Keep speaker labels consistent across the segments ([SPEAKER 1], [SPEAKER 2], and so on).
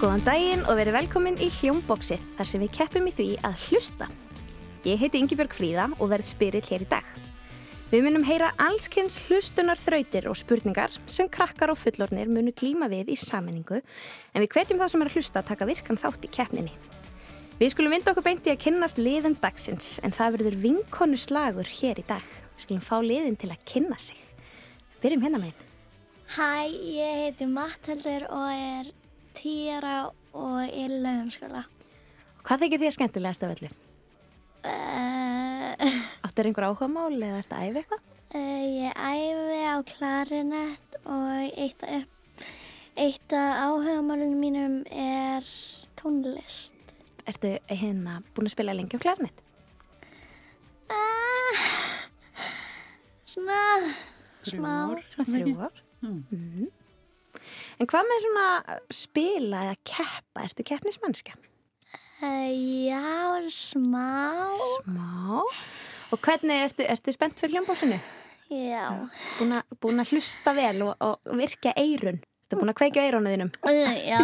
[SPEAKER 1] Góðan daginn og verið velkomin í Hljómboksið þar sem við keppum í því að hlusta. Ég heiti Ingibjörg Fríða og verð spyrill hér í dag. Við munum heyra allskynns hlustunar þrautir og spurningar sem krakkar og fullornir munu glíma við í sammenningu en við hvetjum þá sem er að hlusta að taka virkan þátt í keppninni. Við skulum vinda okkur beint í að kynnast liðum dagsins en það verður vinkonu slagur hér í dag. Við skulum fá liðin til að kynna sig. Byrjum hérna meginn.
[SPEAKER 2] Hæ, ég heiti Matthildur og er týra og er í lauginskóla.
[SPEAKER 1] Hvað þykir þér skemmtilegast af öllu?
[SPEAKER 2] Uh,
[SPEAKER 1] Áttir einhver áhugamál eða ertu að æfa eitthvað?
[SPEAKER 2] uh, ég æfi á klarinett og eitt af, upp, eitt af áhugamálunum mínum er tónlist.
[SPEAKER 1] Ertu hérna búin að spila lengi á klarnett?
[SPEAKER 2] Uh, svona smá.
[SPEAKER 1] Svona þrjú ár. Mhm. En hvað með svona spila eða keppa? Ertu keppnismannskja?
[SPEAKER 2] Uh, já, smá.
[SPEAKER 1] Má. Og hvernig ertu, ertu spennt fyrir hljómbósinu?
[SPEAKER 2] Já.
[SPEAKER 1] Búin, að- búin að hlusta vel og, og virka eirun. Ertu búin að kveikja eirunu þínum?
[SPEAKER 2] Uh, já.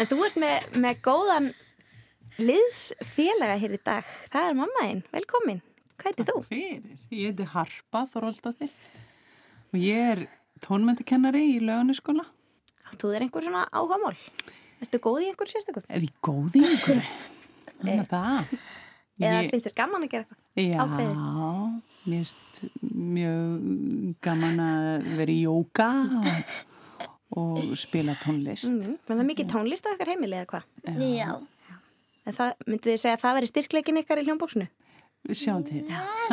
[SPEAKER 1] En þú ert með, með góðan liðsfélaga hér í dag. Það er mamma þín. Velkomin. Hvað heitir þú?
[SPEAKER 3] Fyrir. Ég heiti Harpa Þorvaldsdóttir og ég er tónmyndikennari í lögunaskóla.
[SPEAKER 1] Þú er einhver svona áhugamál. Ertu góð í einhverju sérstökum?
[SPEAKER 3] Er ég góð í einhverju? Þannig að það.
[SPEAKER 1] Eh. Eða
[SPEAKER 3] Ég-
[SPEAKER 1] finnst þér gaman að gera eitthvað?
[SPEAKER 3] Já,
[SPEAKER 1] ákveðið?
[SPEAKER 3] mér finnst mjög gaman að vera í jóka og, og spila tónlist.
[SPEAKER 1] Mm, það er mikið tónlist á ykkar heimili eða hvað?
[SPEAKER 2] já.
[SPEAKER 1] En það, myndið þið segja að það veri styrkleikin ykkar í hljómbóksinu?
[SPEAKER 3] Sjáum til.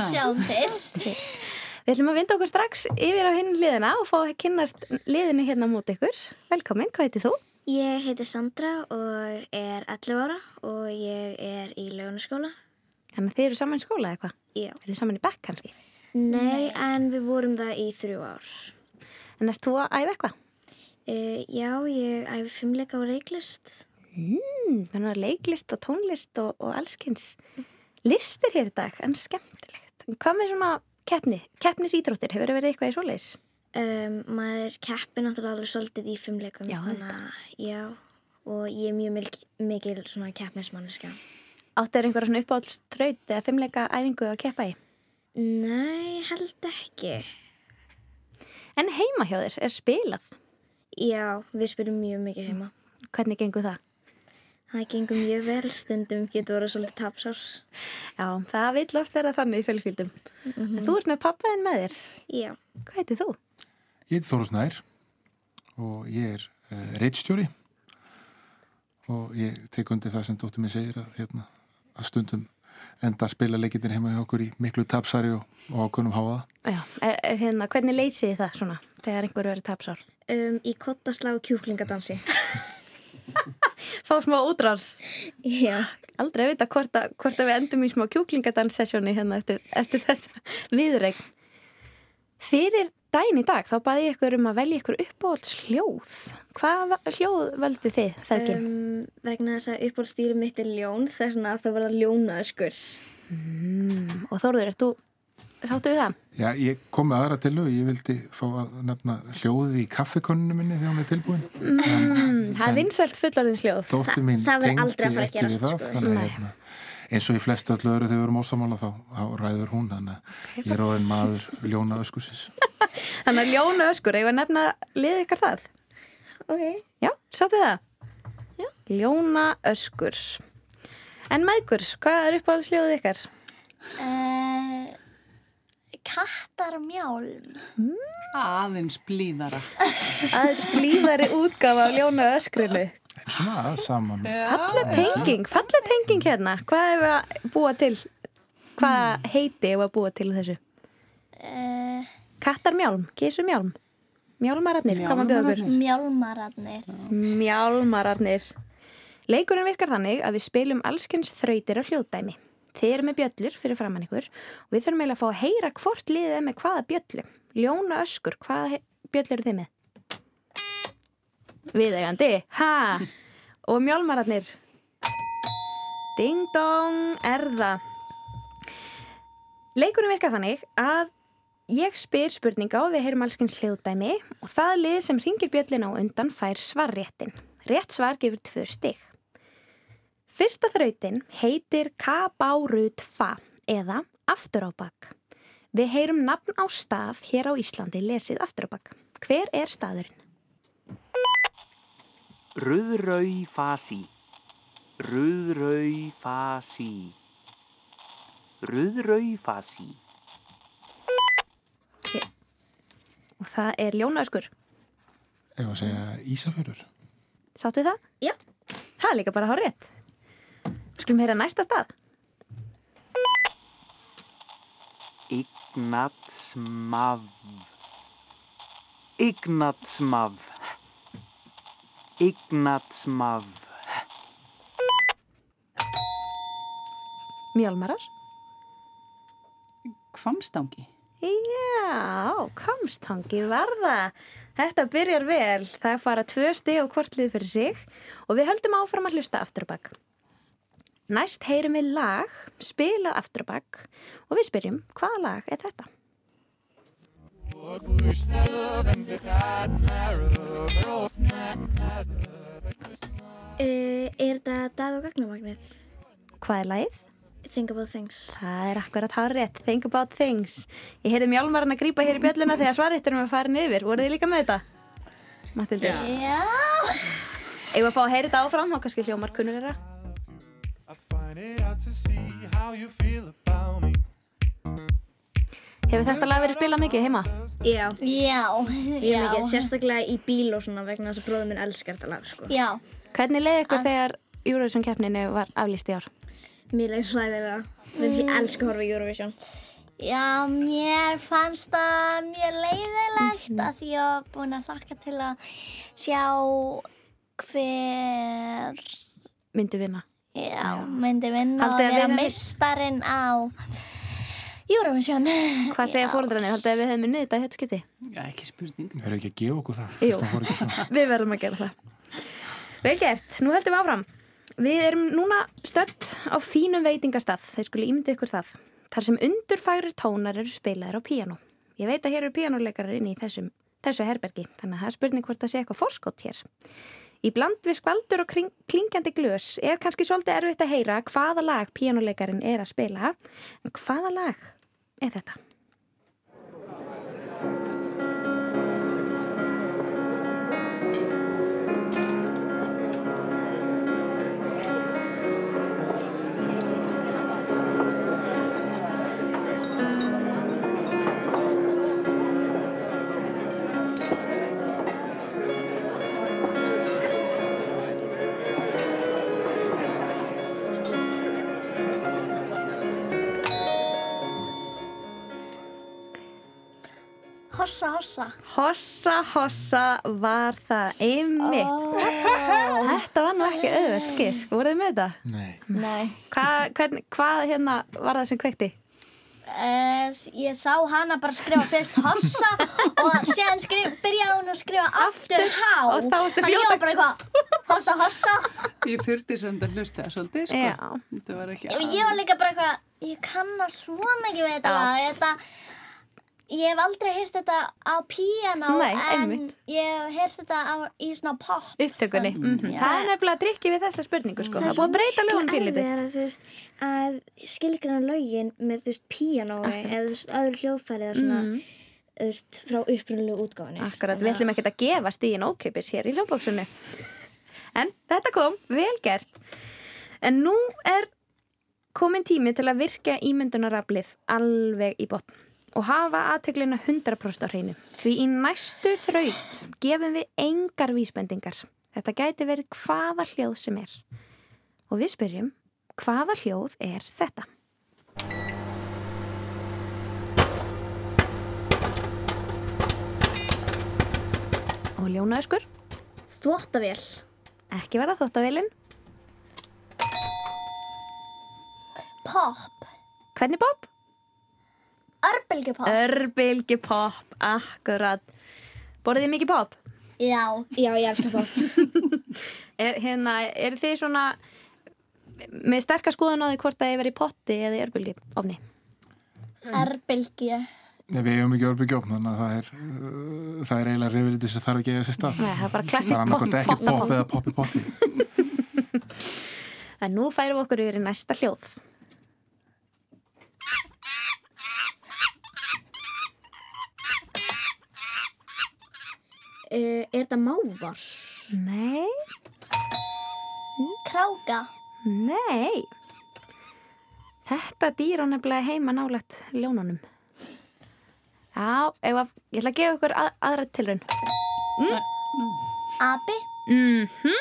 [SPEAKER 2] Sjáum til.
[SPEAKER 1] Við ætlum að vinda okkur strax yfir á hinn liðina og fá að kynnast liðinu hérna á móti ykkur. Velkomin, hvað heiti þú?
[SPEAKER 4] Ég heiti Sandra og er 11 ára og ég er í launaskóla.
[SPEAKER 1] Þannig að þið eru saman í skóla eða hvað?
[SPEAKER 4] Já.
[SPEAKER 1] Eru þið saman í bekk kannski?
[SPEAKER 4] Nei, en við vorum það í þrjú ár.
[SPEAKER 1] En erst þú að æfa eitthvað?
[SPEAKER 4] Uh, já, ég æfi fimmleika á reiklist.
[SPEAKER 1] Mm, þannig að leiklist og tónlist og, og allskins listir hér í dag, en skemmtilegt. En hvað með svona keppni, keppnisýtróttir, hefur verið eitthvað í svoleiðis?
[SPEAKER 4] Um, maður keppi náttúrulega alveg svolítið í fimmleikum.
[SPEAKER 1] Já,
[SPEAKER 4] þannig að, já, og ég er mjög mil, mikil svona keppnismanniska.
[SPEAKER 1] Áttu er einhverja svona uppáhaldstraut eða fimmleika æfingu að keppa í?
[SPEAKER 4] Nei, held ekki.
[SPEAKER 1] En heima hjá þér er spilað.
[SPEAKER 4] Já, við spilum mjög mikið heima.
[SPEAKER 1] Hvernig gengur það?
[SPEAKER 4] Það gengur mjög vel, stundum getur voru svolítið tapsár.
[SPEAKER 1] Já, það vil oft vera þannig í fjölskyldum. En Þú ert með pappaðinn með þér.
[SPEAKER 4] Já.
[SPEAKER 1] Hvað heitir þú?
[SPEAKER 5] Ég heiti Þóra Snær og ég er uh, reittstjóri og ég tek undir það sem dóttir minn segir að, hérna, að stundum enda að spila leikindir heima hjá okkur í miklu tapsari og, og ákunnum háaða.
[SPEAKER 1] Já, er, er, hérna, hvernig leysið þið það svona þegar einhver verið tapsár?
[SPEAKER 4] Um, í kottaslá kjúklingadansi.
[SPEAKER 1] Fá smá útrás.
[SPEAKER 4] Já,
[SPEAKER 1] Aldrei að vita hvort að, hvort að við endum í smá kjúklingadans-sessjóni hérna eftir, eftir þetta viðreik. Fyrir daginn í dag þá baði ég ykkur um að velja ykkur uppáhalds hljóð. Hvað va- hljóð völdu þið, Þaukin?
[SPEAKER 4] um, vegna þess að uppáhaldstýri mitt er ljón, þess vegna það var að ljóna öskur.
[SPEAKER 1] Um, og Þórður, ert þú sáttu við það?
[SPEAKER 5] Já, ég kom með aðra til lög, ég vildi fá að nefna hljóðið í kaffikönnunum minni þegar hún er tilbúin.
[SPEAKER 1] Mm, það er vinsælt fullarins hljóð.
[SPEAKER 5] Dóttir
[SPEAKER 4] Þa-
[SPEAKER 5] mín
[SPEAKER 4] það verður
[SPEAKER 5] tengdi
[SPEAKER 4] aldrei að fara að
[SPEAKER 5] ekki við
[SPEAKER 4] gerast,
[SPEAKER 5] það,
[SPEAKER 4] sko.
[SPEAKER 5] þannig að
[SPEAKER 1] Nei.
[SPEAKER 5] hérna, eins og í flestu öllu öru þegar við erum ósamála þá, þá ræður hún, þannig að ég er orðin maður ljóna öskusins.
[SPEAKER 1] Þannig að ljóna öskur, eigum við að nefna liðið ykkar það?
[SPEAKER 4] Ok.
[SPEAKER 1] Já, sáttu það? Já. Ljóna öskur. En mægur, hvað er uppáhaldsljóðið ykkar?
[SPEAKER 2] Uh, kattarmjálm.
[SPEAKER 3] Aðeins blíðara.
[SPEAKER 1] Aðeins blíðari útgafa af ljóna öskrinu.
[SPEAKER 5] En svona að saman.
[SPEAKER 1] Falla tenging, falla tenging hérna. Hvað hefur að búa til? Hvað heiti hefur að búa til þessu? Eh.
[SPEAKER 2] Uh,
[SPEAKER 1] Kattarmjálm, kísumjálm, mjálmararnir, hvað maður bjóða okkur?
[SPEAKER 2] mjálmararnir.
[SPEAKER 1] Mjálmararnir. Leikurinn virkar þannig að við spilum allskens þrautir og hljóðdæmi. Þið eru með bjöllur fyrir framann ykkur og við þurfum eiginlega að fá að heyra hvort liðið er með hvaða bjöllu. Ljóna öskur, hvaða he- bjöllu eru þið með? Viðegandi, ha! Og mjálmararnir. Ding dong, erða. Leikurinn virkar þannig að ég spyr spurninga og við heyrum allskins hljóðdæmi og það lið sem ringir bjöllin á undan fær svarréttin. Rétt svar gefur tvö stig. Fyrsta þrautin heitir Kabárutfa eða afturábak. Við heyrum nafn á staf hér á Íslandi lesið afturábak. Hver er staðurinn?
[SPEAKER 6] Ruðraufasi Ruðraufasi Ruðraufasi
[SPEAKER 1] Og það er Ljónaðskur.
[SPEAKER 5] Ef að segja Ísafjörður.
[SPEAKER 1] Sáttu við það?
[SPEAKER 4] Já.
[SPEAKER 1] Það er líka bara hár rétt. Skulum heyra næsta stað.
[SPEAKER 6] Ignatsmav Ignatsmav Ignatsmav
[SPEAKER 1] Mjálmarar.
[SPEAKER 3] Kvamstangi.
[SPEAKER 1] Já, komstangi varða. Þetta byrjar vel. Það fara tvö stig og kvortlið fyrir sig og við höldum áfram að hlusta afturbak. Næst heyrum við lag, spilað afturbak og við spyrjum hvaða lag er þetta?
[SPEAKER 4] Uh, er þetta dag og gagnamagnið?
[SPEAKER 1] Hvað er lagið?
[SPEAKER 4] Think about things.
[SPEAKER 1] Það er akkurat hár rétt, think about things. Ég heyrði mjálmaran að grípa hér í bjölluna þegar svaritturum að fara niður. Voruð þið líka með þetta? Matildur, yeah.
[SPEAKER 2] Já.
[SPEAKER 1] eigum við að fá að heyra þetta áfram og kannski hljómar kunnur þeirra?
[SPEAKER 7] I find it out to see how you feel about me.
[SPEAKER 1] Hefur þetta lag verið spilað mikið heima?
[SPEAKER 4] Já,
[SPEAKER 2] Já.
[SPEAKER 4] mjög mikið,
[SPEAKER 2] Já.
[SPEAKER 4] sérstaklega í bíl og svona vegna þess að bróðum minn elskar þetta lag, sko.
[SPEAKER 2] Já.
[SPEAKER 1] Hvernig leiði ykkur þegar Eurovision keppninu var aflýst í ár?
[SPEAKER 4] Mér leið slæðilega, þannig að ég elska að horfa í Eurovision.
[SPEAKER 2] Já, mér fannst það mjög leiðilegt
[SPEAKER 4] Mhm.
[SPEAKER 2] að því ég var búin að hlakka til að sjá hver
[SPEAKER 1] Myndi vinna.
[SPEAKER 2] já, myndi vinna
[SPEAKER 1] Haldið að
[SPEAKER 2] og
[SPEAKER 1] við
[SPEAKER 2] vera
[SPEAKER 1] höfum-
[SPEAKER 2] mistarinn á Eurovision.
[SPEAKER 1] Hvað segja fóreldrarnir? Haldið að við hefum unnið þetta í þetta skipti?
[SPEAKER 3] Já, ekki spurning.
[SPEAKER 5] Við höfum ekki að gefa okkur það.
[SPEAKER 1] Jú.
[SPEAKER 5] fyrst það fór ekki svona.
[SPEAKER 1] Við verðum að gera það. Vel gert, nú höldum við áfram. Við erum núna stödd á fínum veitingastaf, þeir skulle ímyndið ykkur það. Þar sem undurfærir tónar eru spilaðir á píanó. Ég veit að hér eru píanóleikarar inn í þessum, þessu herbergi, þannig að það er spurning hvort það sé eitthvað forskott hér. Í bland við skvaldur og kring, klingjandi glös er kannski svolítið erfitt að heyra hvaða lag píanóleikarinn er að spila. En hvaða lag er þetta?
[SPEAKER 2] Hossa, hossa.
[SPEAKER 1] Hossa, hossa var það einmitt. Þetta var nú ekki auðvöld, Gisk, voruð þið með þetta?
[SPEAKER 5] Nei.
[SPEAKER 2] Nei.
[SPEAKER 1] Hvað, hvern, hvað hérna var það sem kveikti?
[SPEAKER 2] Eh, ég sá hana bara skrifa fyrst hossa og séðan skrif, byrjaði hún að skrifa aftur há.
[SPEAKER 1] og þá varstu
[SPEAKER 2] Þannig ég
[SPEAKER 1] fljót
[SPEAKER 2] var bara eitthvað hossa, hossa.
[SPEAKER 3] Ég þurfti samt að hlusta svolítið, sko.
[SPEAKER 1] Já.
[SPEAKER 3] Þetta var ekki...
[SPEAKER 2] Ég, ég var líka bara eitthvað, ég kannast svo mikið við þetta,
[SPEAKER 1] Já.
[SPEAKER 2] lag, þetta ég hef aldrei heyrt þetta á píanó
[SPEAKER 1] Nei,
[SPEAKER 2] en
[SPEAKER 1] einmitt.
[SPEAKER 2] ég hef heyrt þetta á, í svona pop
[SPEAKER 1] Upptökunni. Mm
[SPEAKER 2] Já.
[SPEAKER 1] Það er nefnilega drikki við þessa spurningu, sko. Það er búið að breyta lögum pínlítið.
[SPEAKER 4] Það er þú veist, að skilgrana lögin með, þú veist, píanói eða þú veist, öðru hljóðfæri eða svona, þú veist, frá upprunalegu útgáfinni.
[SPEAKER 1] Akkurat, við ætlum ekkert að gefa stíðin ókeipis hér í hljómbóksunni. En þetta kom, vel gert. En nú er komin tími til að virka ímyndunaraflið alveg í botn og hafa aðteglina 100% á hreinu. Því í næstu þraut gefum við engar vísbendingar. Þetta gæti verið hvaða hljóð sem er. Og við spyrjum, hvaða hljóð er þetta? Og ljónaðskur,
[SPEAKER 4] Þvottavél.
[SPEAKER 1] ekki verða þóttavélinn.
[SPEAKER 2] pop,
[SPEAKER 1] Hvernig bopp?
[SPEAKER 2] örbylgjupop
[SPEAKER 1] Örbylgi pop, akkurat. Borðið þið mikið pop?
[SPEAKER 2] já,
[SPEAKER 4] Já, ég elskar pop.
[SPEAKER 1] Er, hérna, er þið svona með sterkar skoðun á því hvort það er verið í potti eða í örbylgi ofni?
[SPEAKER 2] örbylgju
[SPEAKER 5] Nei, við hefum ekki orðbyggjófn, þannig að það er, uh, það er eiginlega reyfildið sem þarf ekki að eiga sér stað.
[SPEAKER 1] Nei, það er bara
[SPEAKER 5] Það er
[SPEAKER 1] klassist
[SPEAKER 5] annarkvæmt ekki popp eða popp í poppi.
[SPEAKER 1] En nú færum við okkur yfir í næsta hljóð.
[SPEAKER 4] Uh, er þetta mávar?
[SPEAKER 1] Nei,
[SPEAKER 2] Kráka.
[SPEAKER 1] nei. Þetta dýr á nefnilega heima nálægt ljónunum. Já, ef að, ég ætla að gefa ykkur að, aðra tilraun.
[SPEAKER 2] Abi.
[SPEAKER 1] Mhm.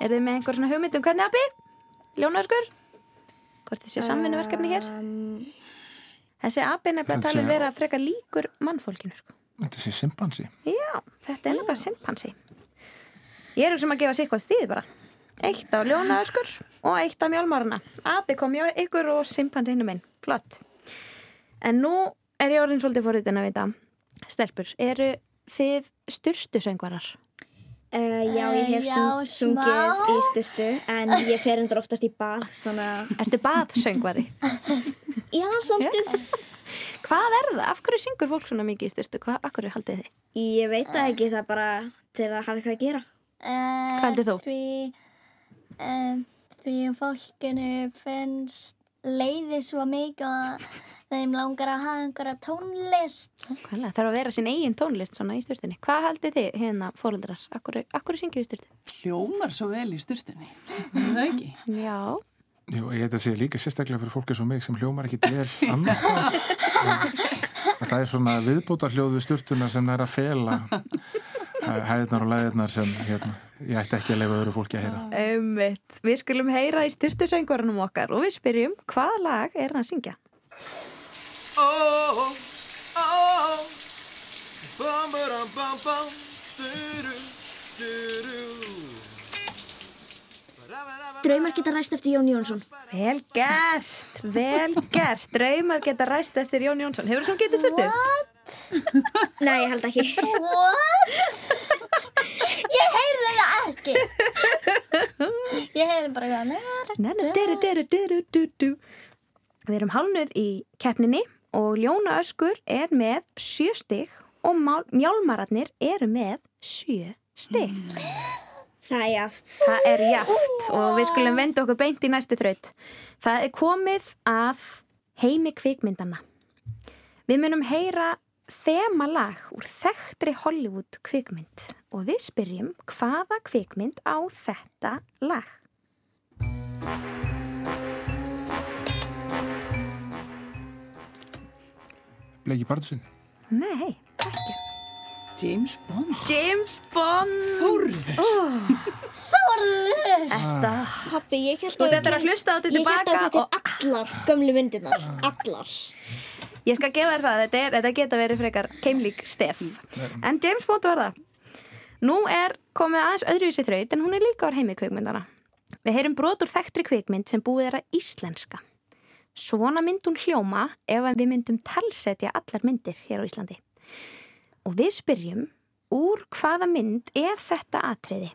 [SPEAKER 1] Er þið með einhver svona hugmynd um hvernig abi? Ljónaðurskur? Hvort þið séu samvinnuverkefni hér?
[SPEAKER 4] Um,
[SPEAKER 1] Þessi abi er nefnilega
[SPEAKER 5] Þetta
[SPEAKER 1] talið
[SPEAKER 5] sé-
[SPEAKER 1] vera frekar líkur mannfólkinu, sko.
[SPEAKER 5] Þetta sé simpansi.
[SPEAKER 1] Já, þetta er nefnilega simpansi. Ég er um að gefa sér eitthvað stíð bara. Eitt á ljónaðuskur og eitt á mjálmárna. Abi kom hjá ykkur og simpansi hinnum minn. Flott. En nú er ég orðin svolítið fóruðin að vita. Stelpur, eru þið styrtusöngvarar?
[SPEAKER 4] uh, já, ég hef
[SPEAKER 2] Eh, já,
[SPEAKER 4] stund, sungið
[SPEAKER 2] smá.
[SPEAKER 4] í styrtu en ég fer endur oftast í bað þannig að
[SPEAKER 1] Ertu baðsöngvari?
[SPEAKER 4] Já,
[SPEAKER 2] Eh,
[SPEAKER 4] svolítið.
[SPEAKER 1] Hvað er það? Af hverju syngur fólk svona mikið í styrtu? Hvað, af hverju haldið þið?
[SPEAKER 4] Ég veit það ekki, það er bara til að hafa eitthvað að gera.
[SPEAKER 2] Hvað
[SPEAKER 1] heldur þú?
[SPEAKER 2] Því, um, Eh, því fólkinu finnst leiði svo mikið og þeim langar að hafa einhverja tónlist.
[SPEAKER 1] Hvaðlega, þarf að vera sín eigin tónlist svona í styrtunni. Hvað haldið þið hérna fóruldrar? Af hverju, af hverju syngið í styrtu?
[SPEAKER 3] Hljómar svo vel í styrstinni. Það ekki.
[SPEAKER 1] Já,
[SPEAKER 5] Jú, ég þetta sé líka sérstaklega fyrir fólki sem mig sem hljómar ekki vel annars það. Það er svona viðbútar hljóð við styrtuna sem er að fela eh, hæðirnar og læðirnar sem hérna, ég ætti ekki að leifa öðru fólki að heyra.
[SPEAKER 1] Einmitt. Við skulum heyra í styrtusöngvarunum okkar og við spyrjum hvað lag er hann að syngja?
[SPEAKER 7] Oh, oh, bum, ba-dum, bum, bum, doo-doo, doo-doo. Ba-da-ba-da-ba-ba.
[SPEAKER 4] Draumar geta ræst eftir Jón Jónsson.
[SPEAKER 1] Vel gert, vel gert. Draumar geta ræst eftir Jón Jónsson. Hefur þú svo getið styrtu?
[SPEAKER 4] Nei, ég held ekki.
[SPEAKER 2] What? Ég heyrði það ekki. Ég heyrði bara hvað nöðar.
[SPEAKER 1] Nei, nei, dyru, dyru, dyru, dú, dú. Við erum hálnuð í keppninni og Ljóna Öskur er með sjö stygg og mál- mjálmararnir eru með sjö stygg.
[SPEAKER 4] Það er jaft.
[SPEAKER 1] Það er jæft og við skulum venda okkur beint í næstu þraut. Það er komið af heimi kvikmyndana. Við munum heyra þemalag úr þekktri Hollywood kvikmynd og við spyrjum hvaða kvikmynd á þetta lag.
[SPEAKER 5] Bleki Bartusinn.
[SPEAKER 1] Nei, ekki.
[SPEAKER 3] James Bond.
[SPEAKER 1] James Bond.
[SPEAKER 3] Þórður.
[SPEAKER 1] Þetta.
[SPEAKER 4] Pappi, ég held
[SPEAKER 1] Þú Ah. Sko, þetta er að hlusta á þetta
[SPEAKER 4] Ég held að
[SPEAKER 1] tilbaka
[SPEAKER 4] þetta
[SPEAKER 1] og
[SPEAKER 4] er allar gömlu myndirnar. Allar.
[SPEAKER 1] ég skal gefa þér það. Þetta, er, þetta geta verið frekar keimlík stef.
[SPEAKER 4] Mm.
[SPEAKER 1] En James Bond var það. Nú er komið aðeins öðruvísi þraut en hún er líka úr heimi kvikmyndana. Við heyrum brot úr þekktri kvikmynd sem búið er að íslenska. Svona mynd hún hljóma ef að við myndum talsetja allar myndir hér á Íslandi. Og við spyrjum úr hvaða mynd er þetta atriði?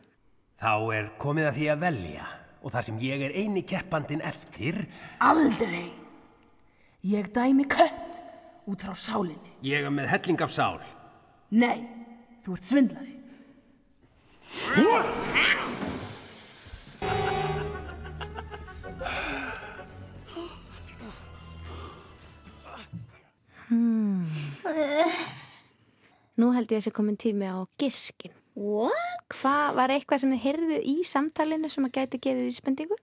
[SPEAKER 8] Þá er komið að því að velja og það sem ég er eini keppandin eftir,
[SPEAKER 9] Aldrei. Ég dæmi kött út frá sálinni.
[SPEAKER 8] ég er með helling af sál.
[SPEAKER 9] Nei, þú ert svindlari.
[SPEAKER 1] Nú held ég að þessi komin tími á giskin.
[SPEAKER 4] What?
[SPEAKER 1] Hvað var eitthvað sem þið heyrðuð í samtalinu sem að gæti gefið vísbendingu?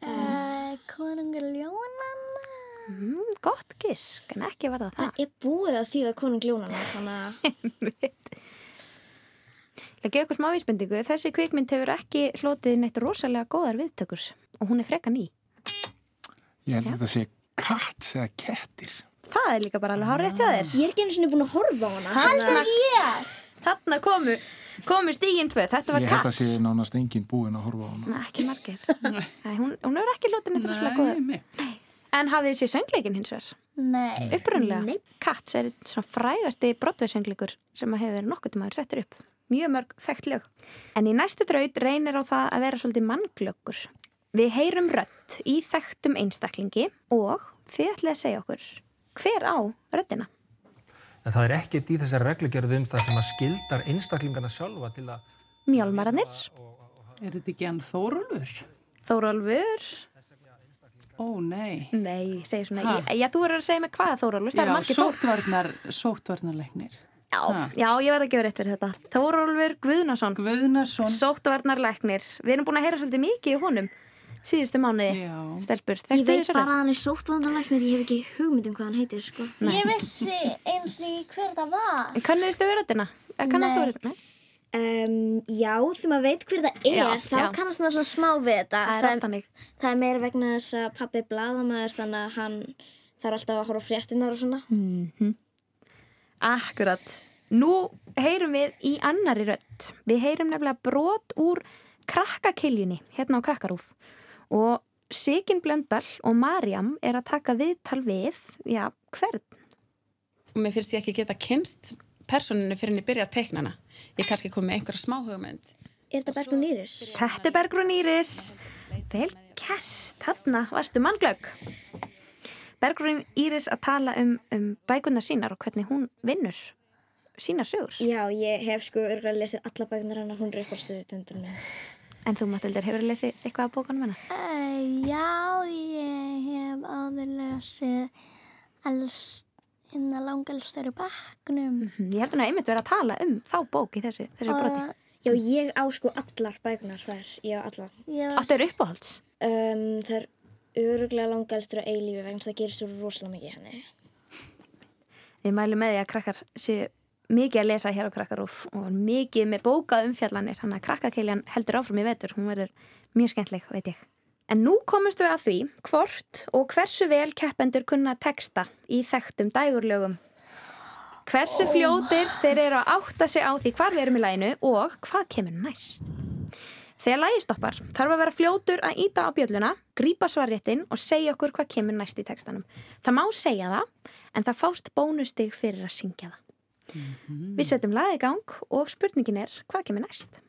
[SPEAKER 2] Uh, konungur ljónanna.
[SPEAKER 1] Mm, gott gisk, en ekki var það það.
[SPEAKER 4] Ég búið að þýða konung ljónana, þannig að...
[SPEAKER 1] mitt. Ég ætla að gefa ykkur smá vísbendingu. Þessi kvikmynd hefur ekki hlotið neitt rosalega góðar viðtökur og hún er freka ný.
[SPEAKER 5] Ég held að þetta sé kats eða kettir.
[SPEAKER 1] Það er líka bara alveg hár rétt hjá þér.
[SPEAKER 4] Ég er ekki einu sinni búin að horfa á hana.
[SPEAKER 1] Þarna, þarna komu, komu stígin tvö. Þetta var
[SPEAKER 5] Ég held að
[SPEAKER 1] kats.
[SPEAKER 5] sé nánast enginn búinn að horfa á hana.
[SPEAKER 1] Nei, ekki margir. Nei, hún, hún hefur ekki hlotið neitt rosalega góðar.
[SPEAKER 3] Nei,
[SPEAKER 1] En hafið þið sé söngleikin hins vegar?
[SPEAKER 2] Nei.
[SPEAKER 1] Upprunlega. Kats er einn svona frægasti brotveirsöngleikur sem að hefur verið nokkuð tímaður settur upp. Mjög mörg þekkt lög. En í næstu þraut reynir á það að vera svolítið mannglöggur. Við heyrum rödd í þekktum einstaklingi og þið ætlið að segja okkur hver á röddina.
[SPEAKER 10] en það er ekkert í þessari reglugjörðu um það sem að skildar einstaklingarna sjálfa til að
[SPEAKER 1] Mjálmaranir,
[SPEAKER 3] Er þetta ekki hann Þórólfur?
[SPEAKER 1] Þórólfur,
[SPEAKER 3] Ó nei.
[SPEAKER 1] nei, segir svona,
[SPEAKER 3] Ha.
[SPEAKER 1] ég, já, þú verður að segja mig hvað Þórólfur, það er
[SPEAKER 3] Já,
[SPEAKER 1] margir Þór.
[SPEAKER 3] sóttvarnar, sóttvarnarleiknir.
[SPEAKER 1] Já,
[SPEAKER 3] Ha.
[SPEAKER 1] já, ég verð að gefa rétt fyrir þetta. Þórólfur Guðnason,
[SPEAKER 3] Guðnason.
[SPEAKER 1] sóttvarnarlæknir, við erum búin að heyra svolítið mikið í honum síðustu mánuði,
[SPEAKER 3] Já.
[SPEAKER 1] stelpur.
[SPEAKER 4] Ég
[SPEAKER 1] Þekktu
[SPEAKER 4] veit
[SPEAKER 1] þessar
[SPEAKER 4] bara að hann er sóttvandarlæknir, ég hef ekki hugmynd um hvað hann heitir, sko.
[SPEAKER 2] Ég vissi eins og ekki hver það var.
[SPEAKER 1] En kannuðist þau veröldina? Eh, Kannast þú
[SPEAKER 2] Nei.
[SPEAKER 1] veröldina?
[SPEAKER 4] Um, já, þegar maður veit hver það er,
[SPEAKER 1] Já,
[SPEAKER 4] þá
[SPEAKER 1] já.
[SPEAKER 4] kannast maður svona smá við þetta.
[SPEAKER 1] Það er oft þannig.
[SPEAKER 4] það er meira vegna þess að pappi er bladamæður, þannig að hann þarf alltaf að horfa á fréttinnar og svona.
[SPEAKER 1] Akkurat. Nú heyrum við í annari rödd. Við heyrum nefnilega brot úr krakkakiljunni hérna á Krakkarúf. Og Sigin Blöndal og Mariam er að taka viðtal við, já, hvern?
[SPEAKER 11] og mér finnst ég ekki geta kynst personinu fyrir en ég byrja að teikna hana. Ég kannski kom með einhverja smá hugmynd.
[SPEAKER 4] Er þetta Bergrún Íris?
[SPEAKER 1] Þetta er Bergrún Íris. Vel kert, þarna varstu mannglögg. Bergrún Íris að tala um, um bækunar sínar og hvernig hún vinnur sínar sögur.
[SPEAKER 4] Já, ég hef sko örgulega lesið alla bækunar hennar, hún er upp á stöðu tendurinu.
[SPEAKER 1] En þú, Matildur, hefur lesið eitthvað af bókanum hennar?
[SPEAKER 2] Uh, já, ég hef áður lesið els, hérna langelstur í bakknum.
[SPEAKER 1] Mhm, Ég held hún að einmitt vera að tala um þá bók í þessu, þessu broti.
[SPEAKER 4] Já, ég á sko allar bækunar þær, ég á allar.
[SPEAKER 2] Ég
[SPEAKER 1] Áttu er uppáhalds.
[SPEAKER 4] Um, það er örgulega langalstur að eilífi vegna þess að það gerir svo rosalega mikið í henni.
[SPEAKER 1] Við mælum með því að krakkar séu mikið að lesa hér á Krakkarúf og mikið með bóka umfjallanir. Þannig að krakkakiljan heldur áfram í vetur. Hún verður mjög skemmtleg, veit ég. En nú komumst við að því hvort og hversu vel keppendur kunna texta í þekktum dægurlögum. Hversu fljótir þeir eru að átta sig á því hvar við erum í læginu og hvað kemur næst. Þegar lægi stoppar þarf að vera fljótur að íta á bjölluna, grípa svarréttin og segja okkur hvað kemur næst í textanum. Það má segja það, en það fást bónustig fyrir að syngja það. Við setjum lagið í gang og spurningin er hvað kemur næst?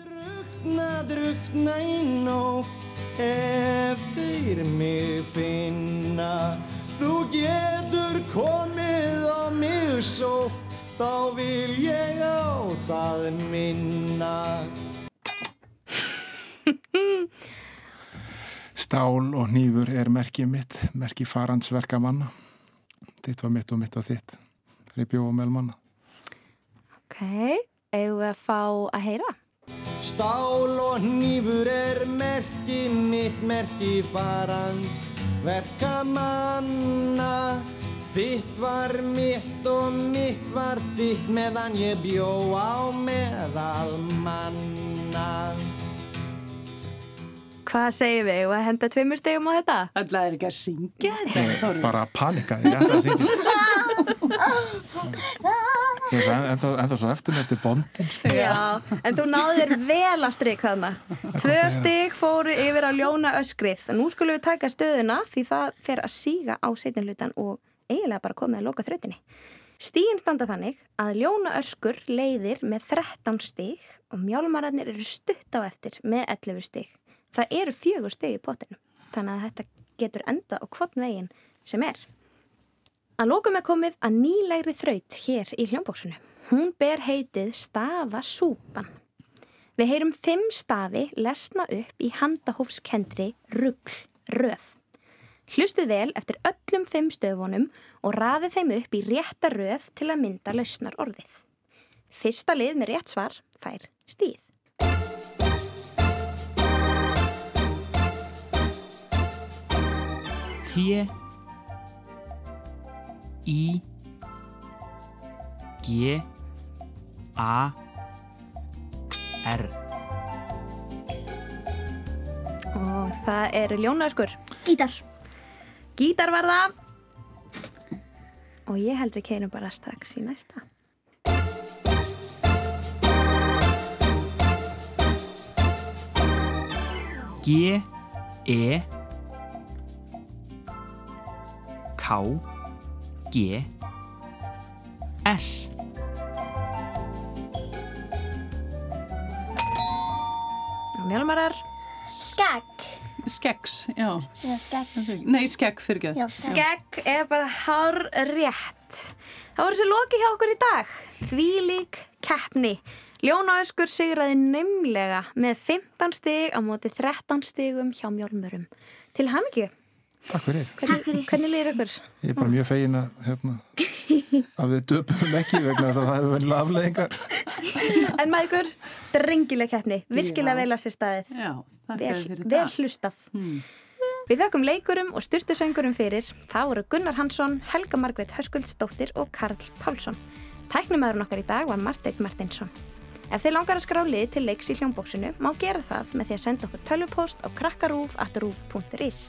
[SPEAKER 7] Drukna, drukna í nótt Ef þeir mig finna Þú getur komið á mig sótt Þá vil ég á það minna
[SPEAKER 5] Stál og nýfur er merkið mitt, merkið farandsverka manna. Þitt var mitt og mitt var þitt. Það er bjóð og melmanna.
[SPEAKER 1] Ok, eigum við að fá að heyra?
[SPEAKER 7] Stál og nýfur er merki mitt, merki faran, verka manna. Þitt var mitt og mitt var þitt meðan ég bjó á meðal manna.
[SPEAKER 1] Hvað segjum við? Eigum við að henda tveimur stegum á þetta?
[SPEAKER 3] Alla er ekki að syngja
[SPEAKER 5] Ég
[SPEAKER 3] þetta.
[SPEAKER 5] bara panikaði, ég ætlaði að syngja. Ég sagði ennþá, ennþá svo eftir með eftir bondin, sko.
[SPEAKER 1] Já, en þú náðir þér vel að strik þarna. Tvö stig fóru yfir á ljóna öskrið. Nú skulum við taka stöðuna því það fer að síga á seitinlutan og eiginlega bara komið að loka þrautinni. Stíin standa þannig að ljóna öskur leiðir með 13 stig og mjálmararnir eru stutt á eftir með 11 stig. Það eru fjögur stig í potinu, þannig að þetta getur enda á hvort veginn sem er. Að lókum er komið að nýlegri þraut hér í hljómbóksinu. Hún ber heitið stafasúpan. Við heyrum fimm stafi lesna upp í handahófskendri rugg röð. Hlustið vel eftir öllum fimm stöfunum og raðið þeim upp í rétta röð til að mynda lausnar orðið. Fyrsta lið með rétt svar fær stíð.
[SPEAKER 6] T I，E G A R
[SPEAKER 1] Og það eru ljónaðskur.
[SPEAKER 4] Gítar.
[SPEAKER 1] Gítar var það. Og ég held við keirum bara strax í næsta.
[SPEAKER 6] G E K G S
[SPEAKER 1] Mjálmarar.
[SPEAKER 2] Skagg.
[SPEAKER 3] skeggs, já.
[SPEAKER 2] Já, skeggs.
[SPEAKER 3] Nei, skegg fyrir ekki.
[SPEAKER 2] Já,
[SPEAKER 1] Skegg er bara hár rétt. Það voru sér lokið hjá okkur í dag. Því lík keppni. Ljónaöskur sigraði neumlega með 15 stig á móti 13 stigum hjá mjölmurum. Til hamingju.
[SPEAKER 5] Takk fyrir.
[SPEAKER 1] Hvernig, hvernig lýðir ykkur?
[SPEAKER 5] Ég er bara mjög fegin að, hérna, að við döpum ekki vegna þess að það hefur venilega afleðingar.
[SPEAKER 1] En maður, drengileg keppni. Virkilega
[SPEAKER 3] Já.
[SPEAKER 1] vel að sér staðið.
[SPEAKER 3] Já, þakka
[SPEAKER 1] vel,
[SPEAKER 3] þér fyrir
[SPEAKER 1] vel
[SPEAKER 3] það. Hmm.
[SPEAKER 1] hlustað. Við þökkum leikurum og styrtusöngurum fyrir. Það voru Gunnar Hansson, Helga Margrét Höskuldsdóttir og Karl Pálsson. Tæknumæðurinn okkar í dag var Marteinn Martinsson. Ef þið langar að skrá liði til leiks í hljómbóksinu má gera það með því að senda okkur tölvupóst á krakkarúf.rúf.is.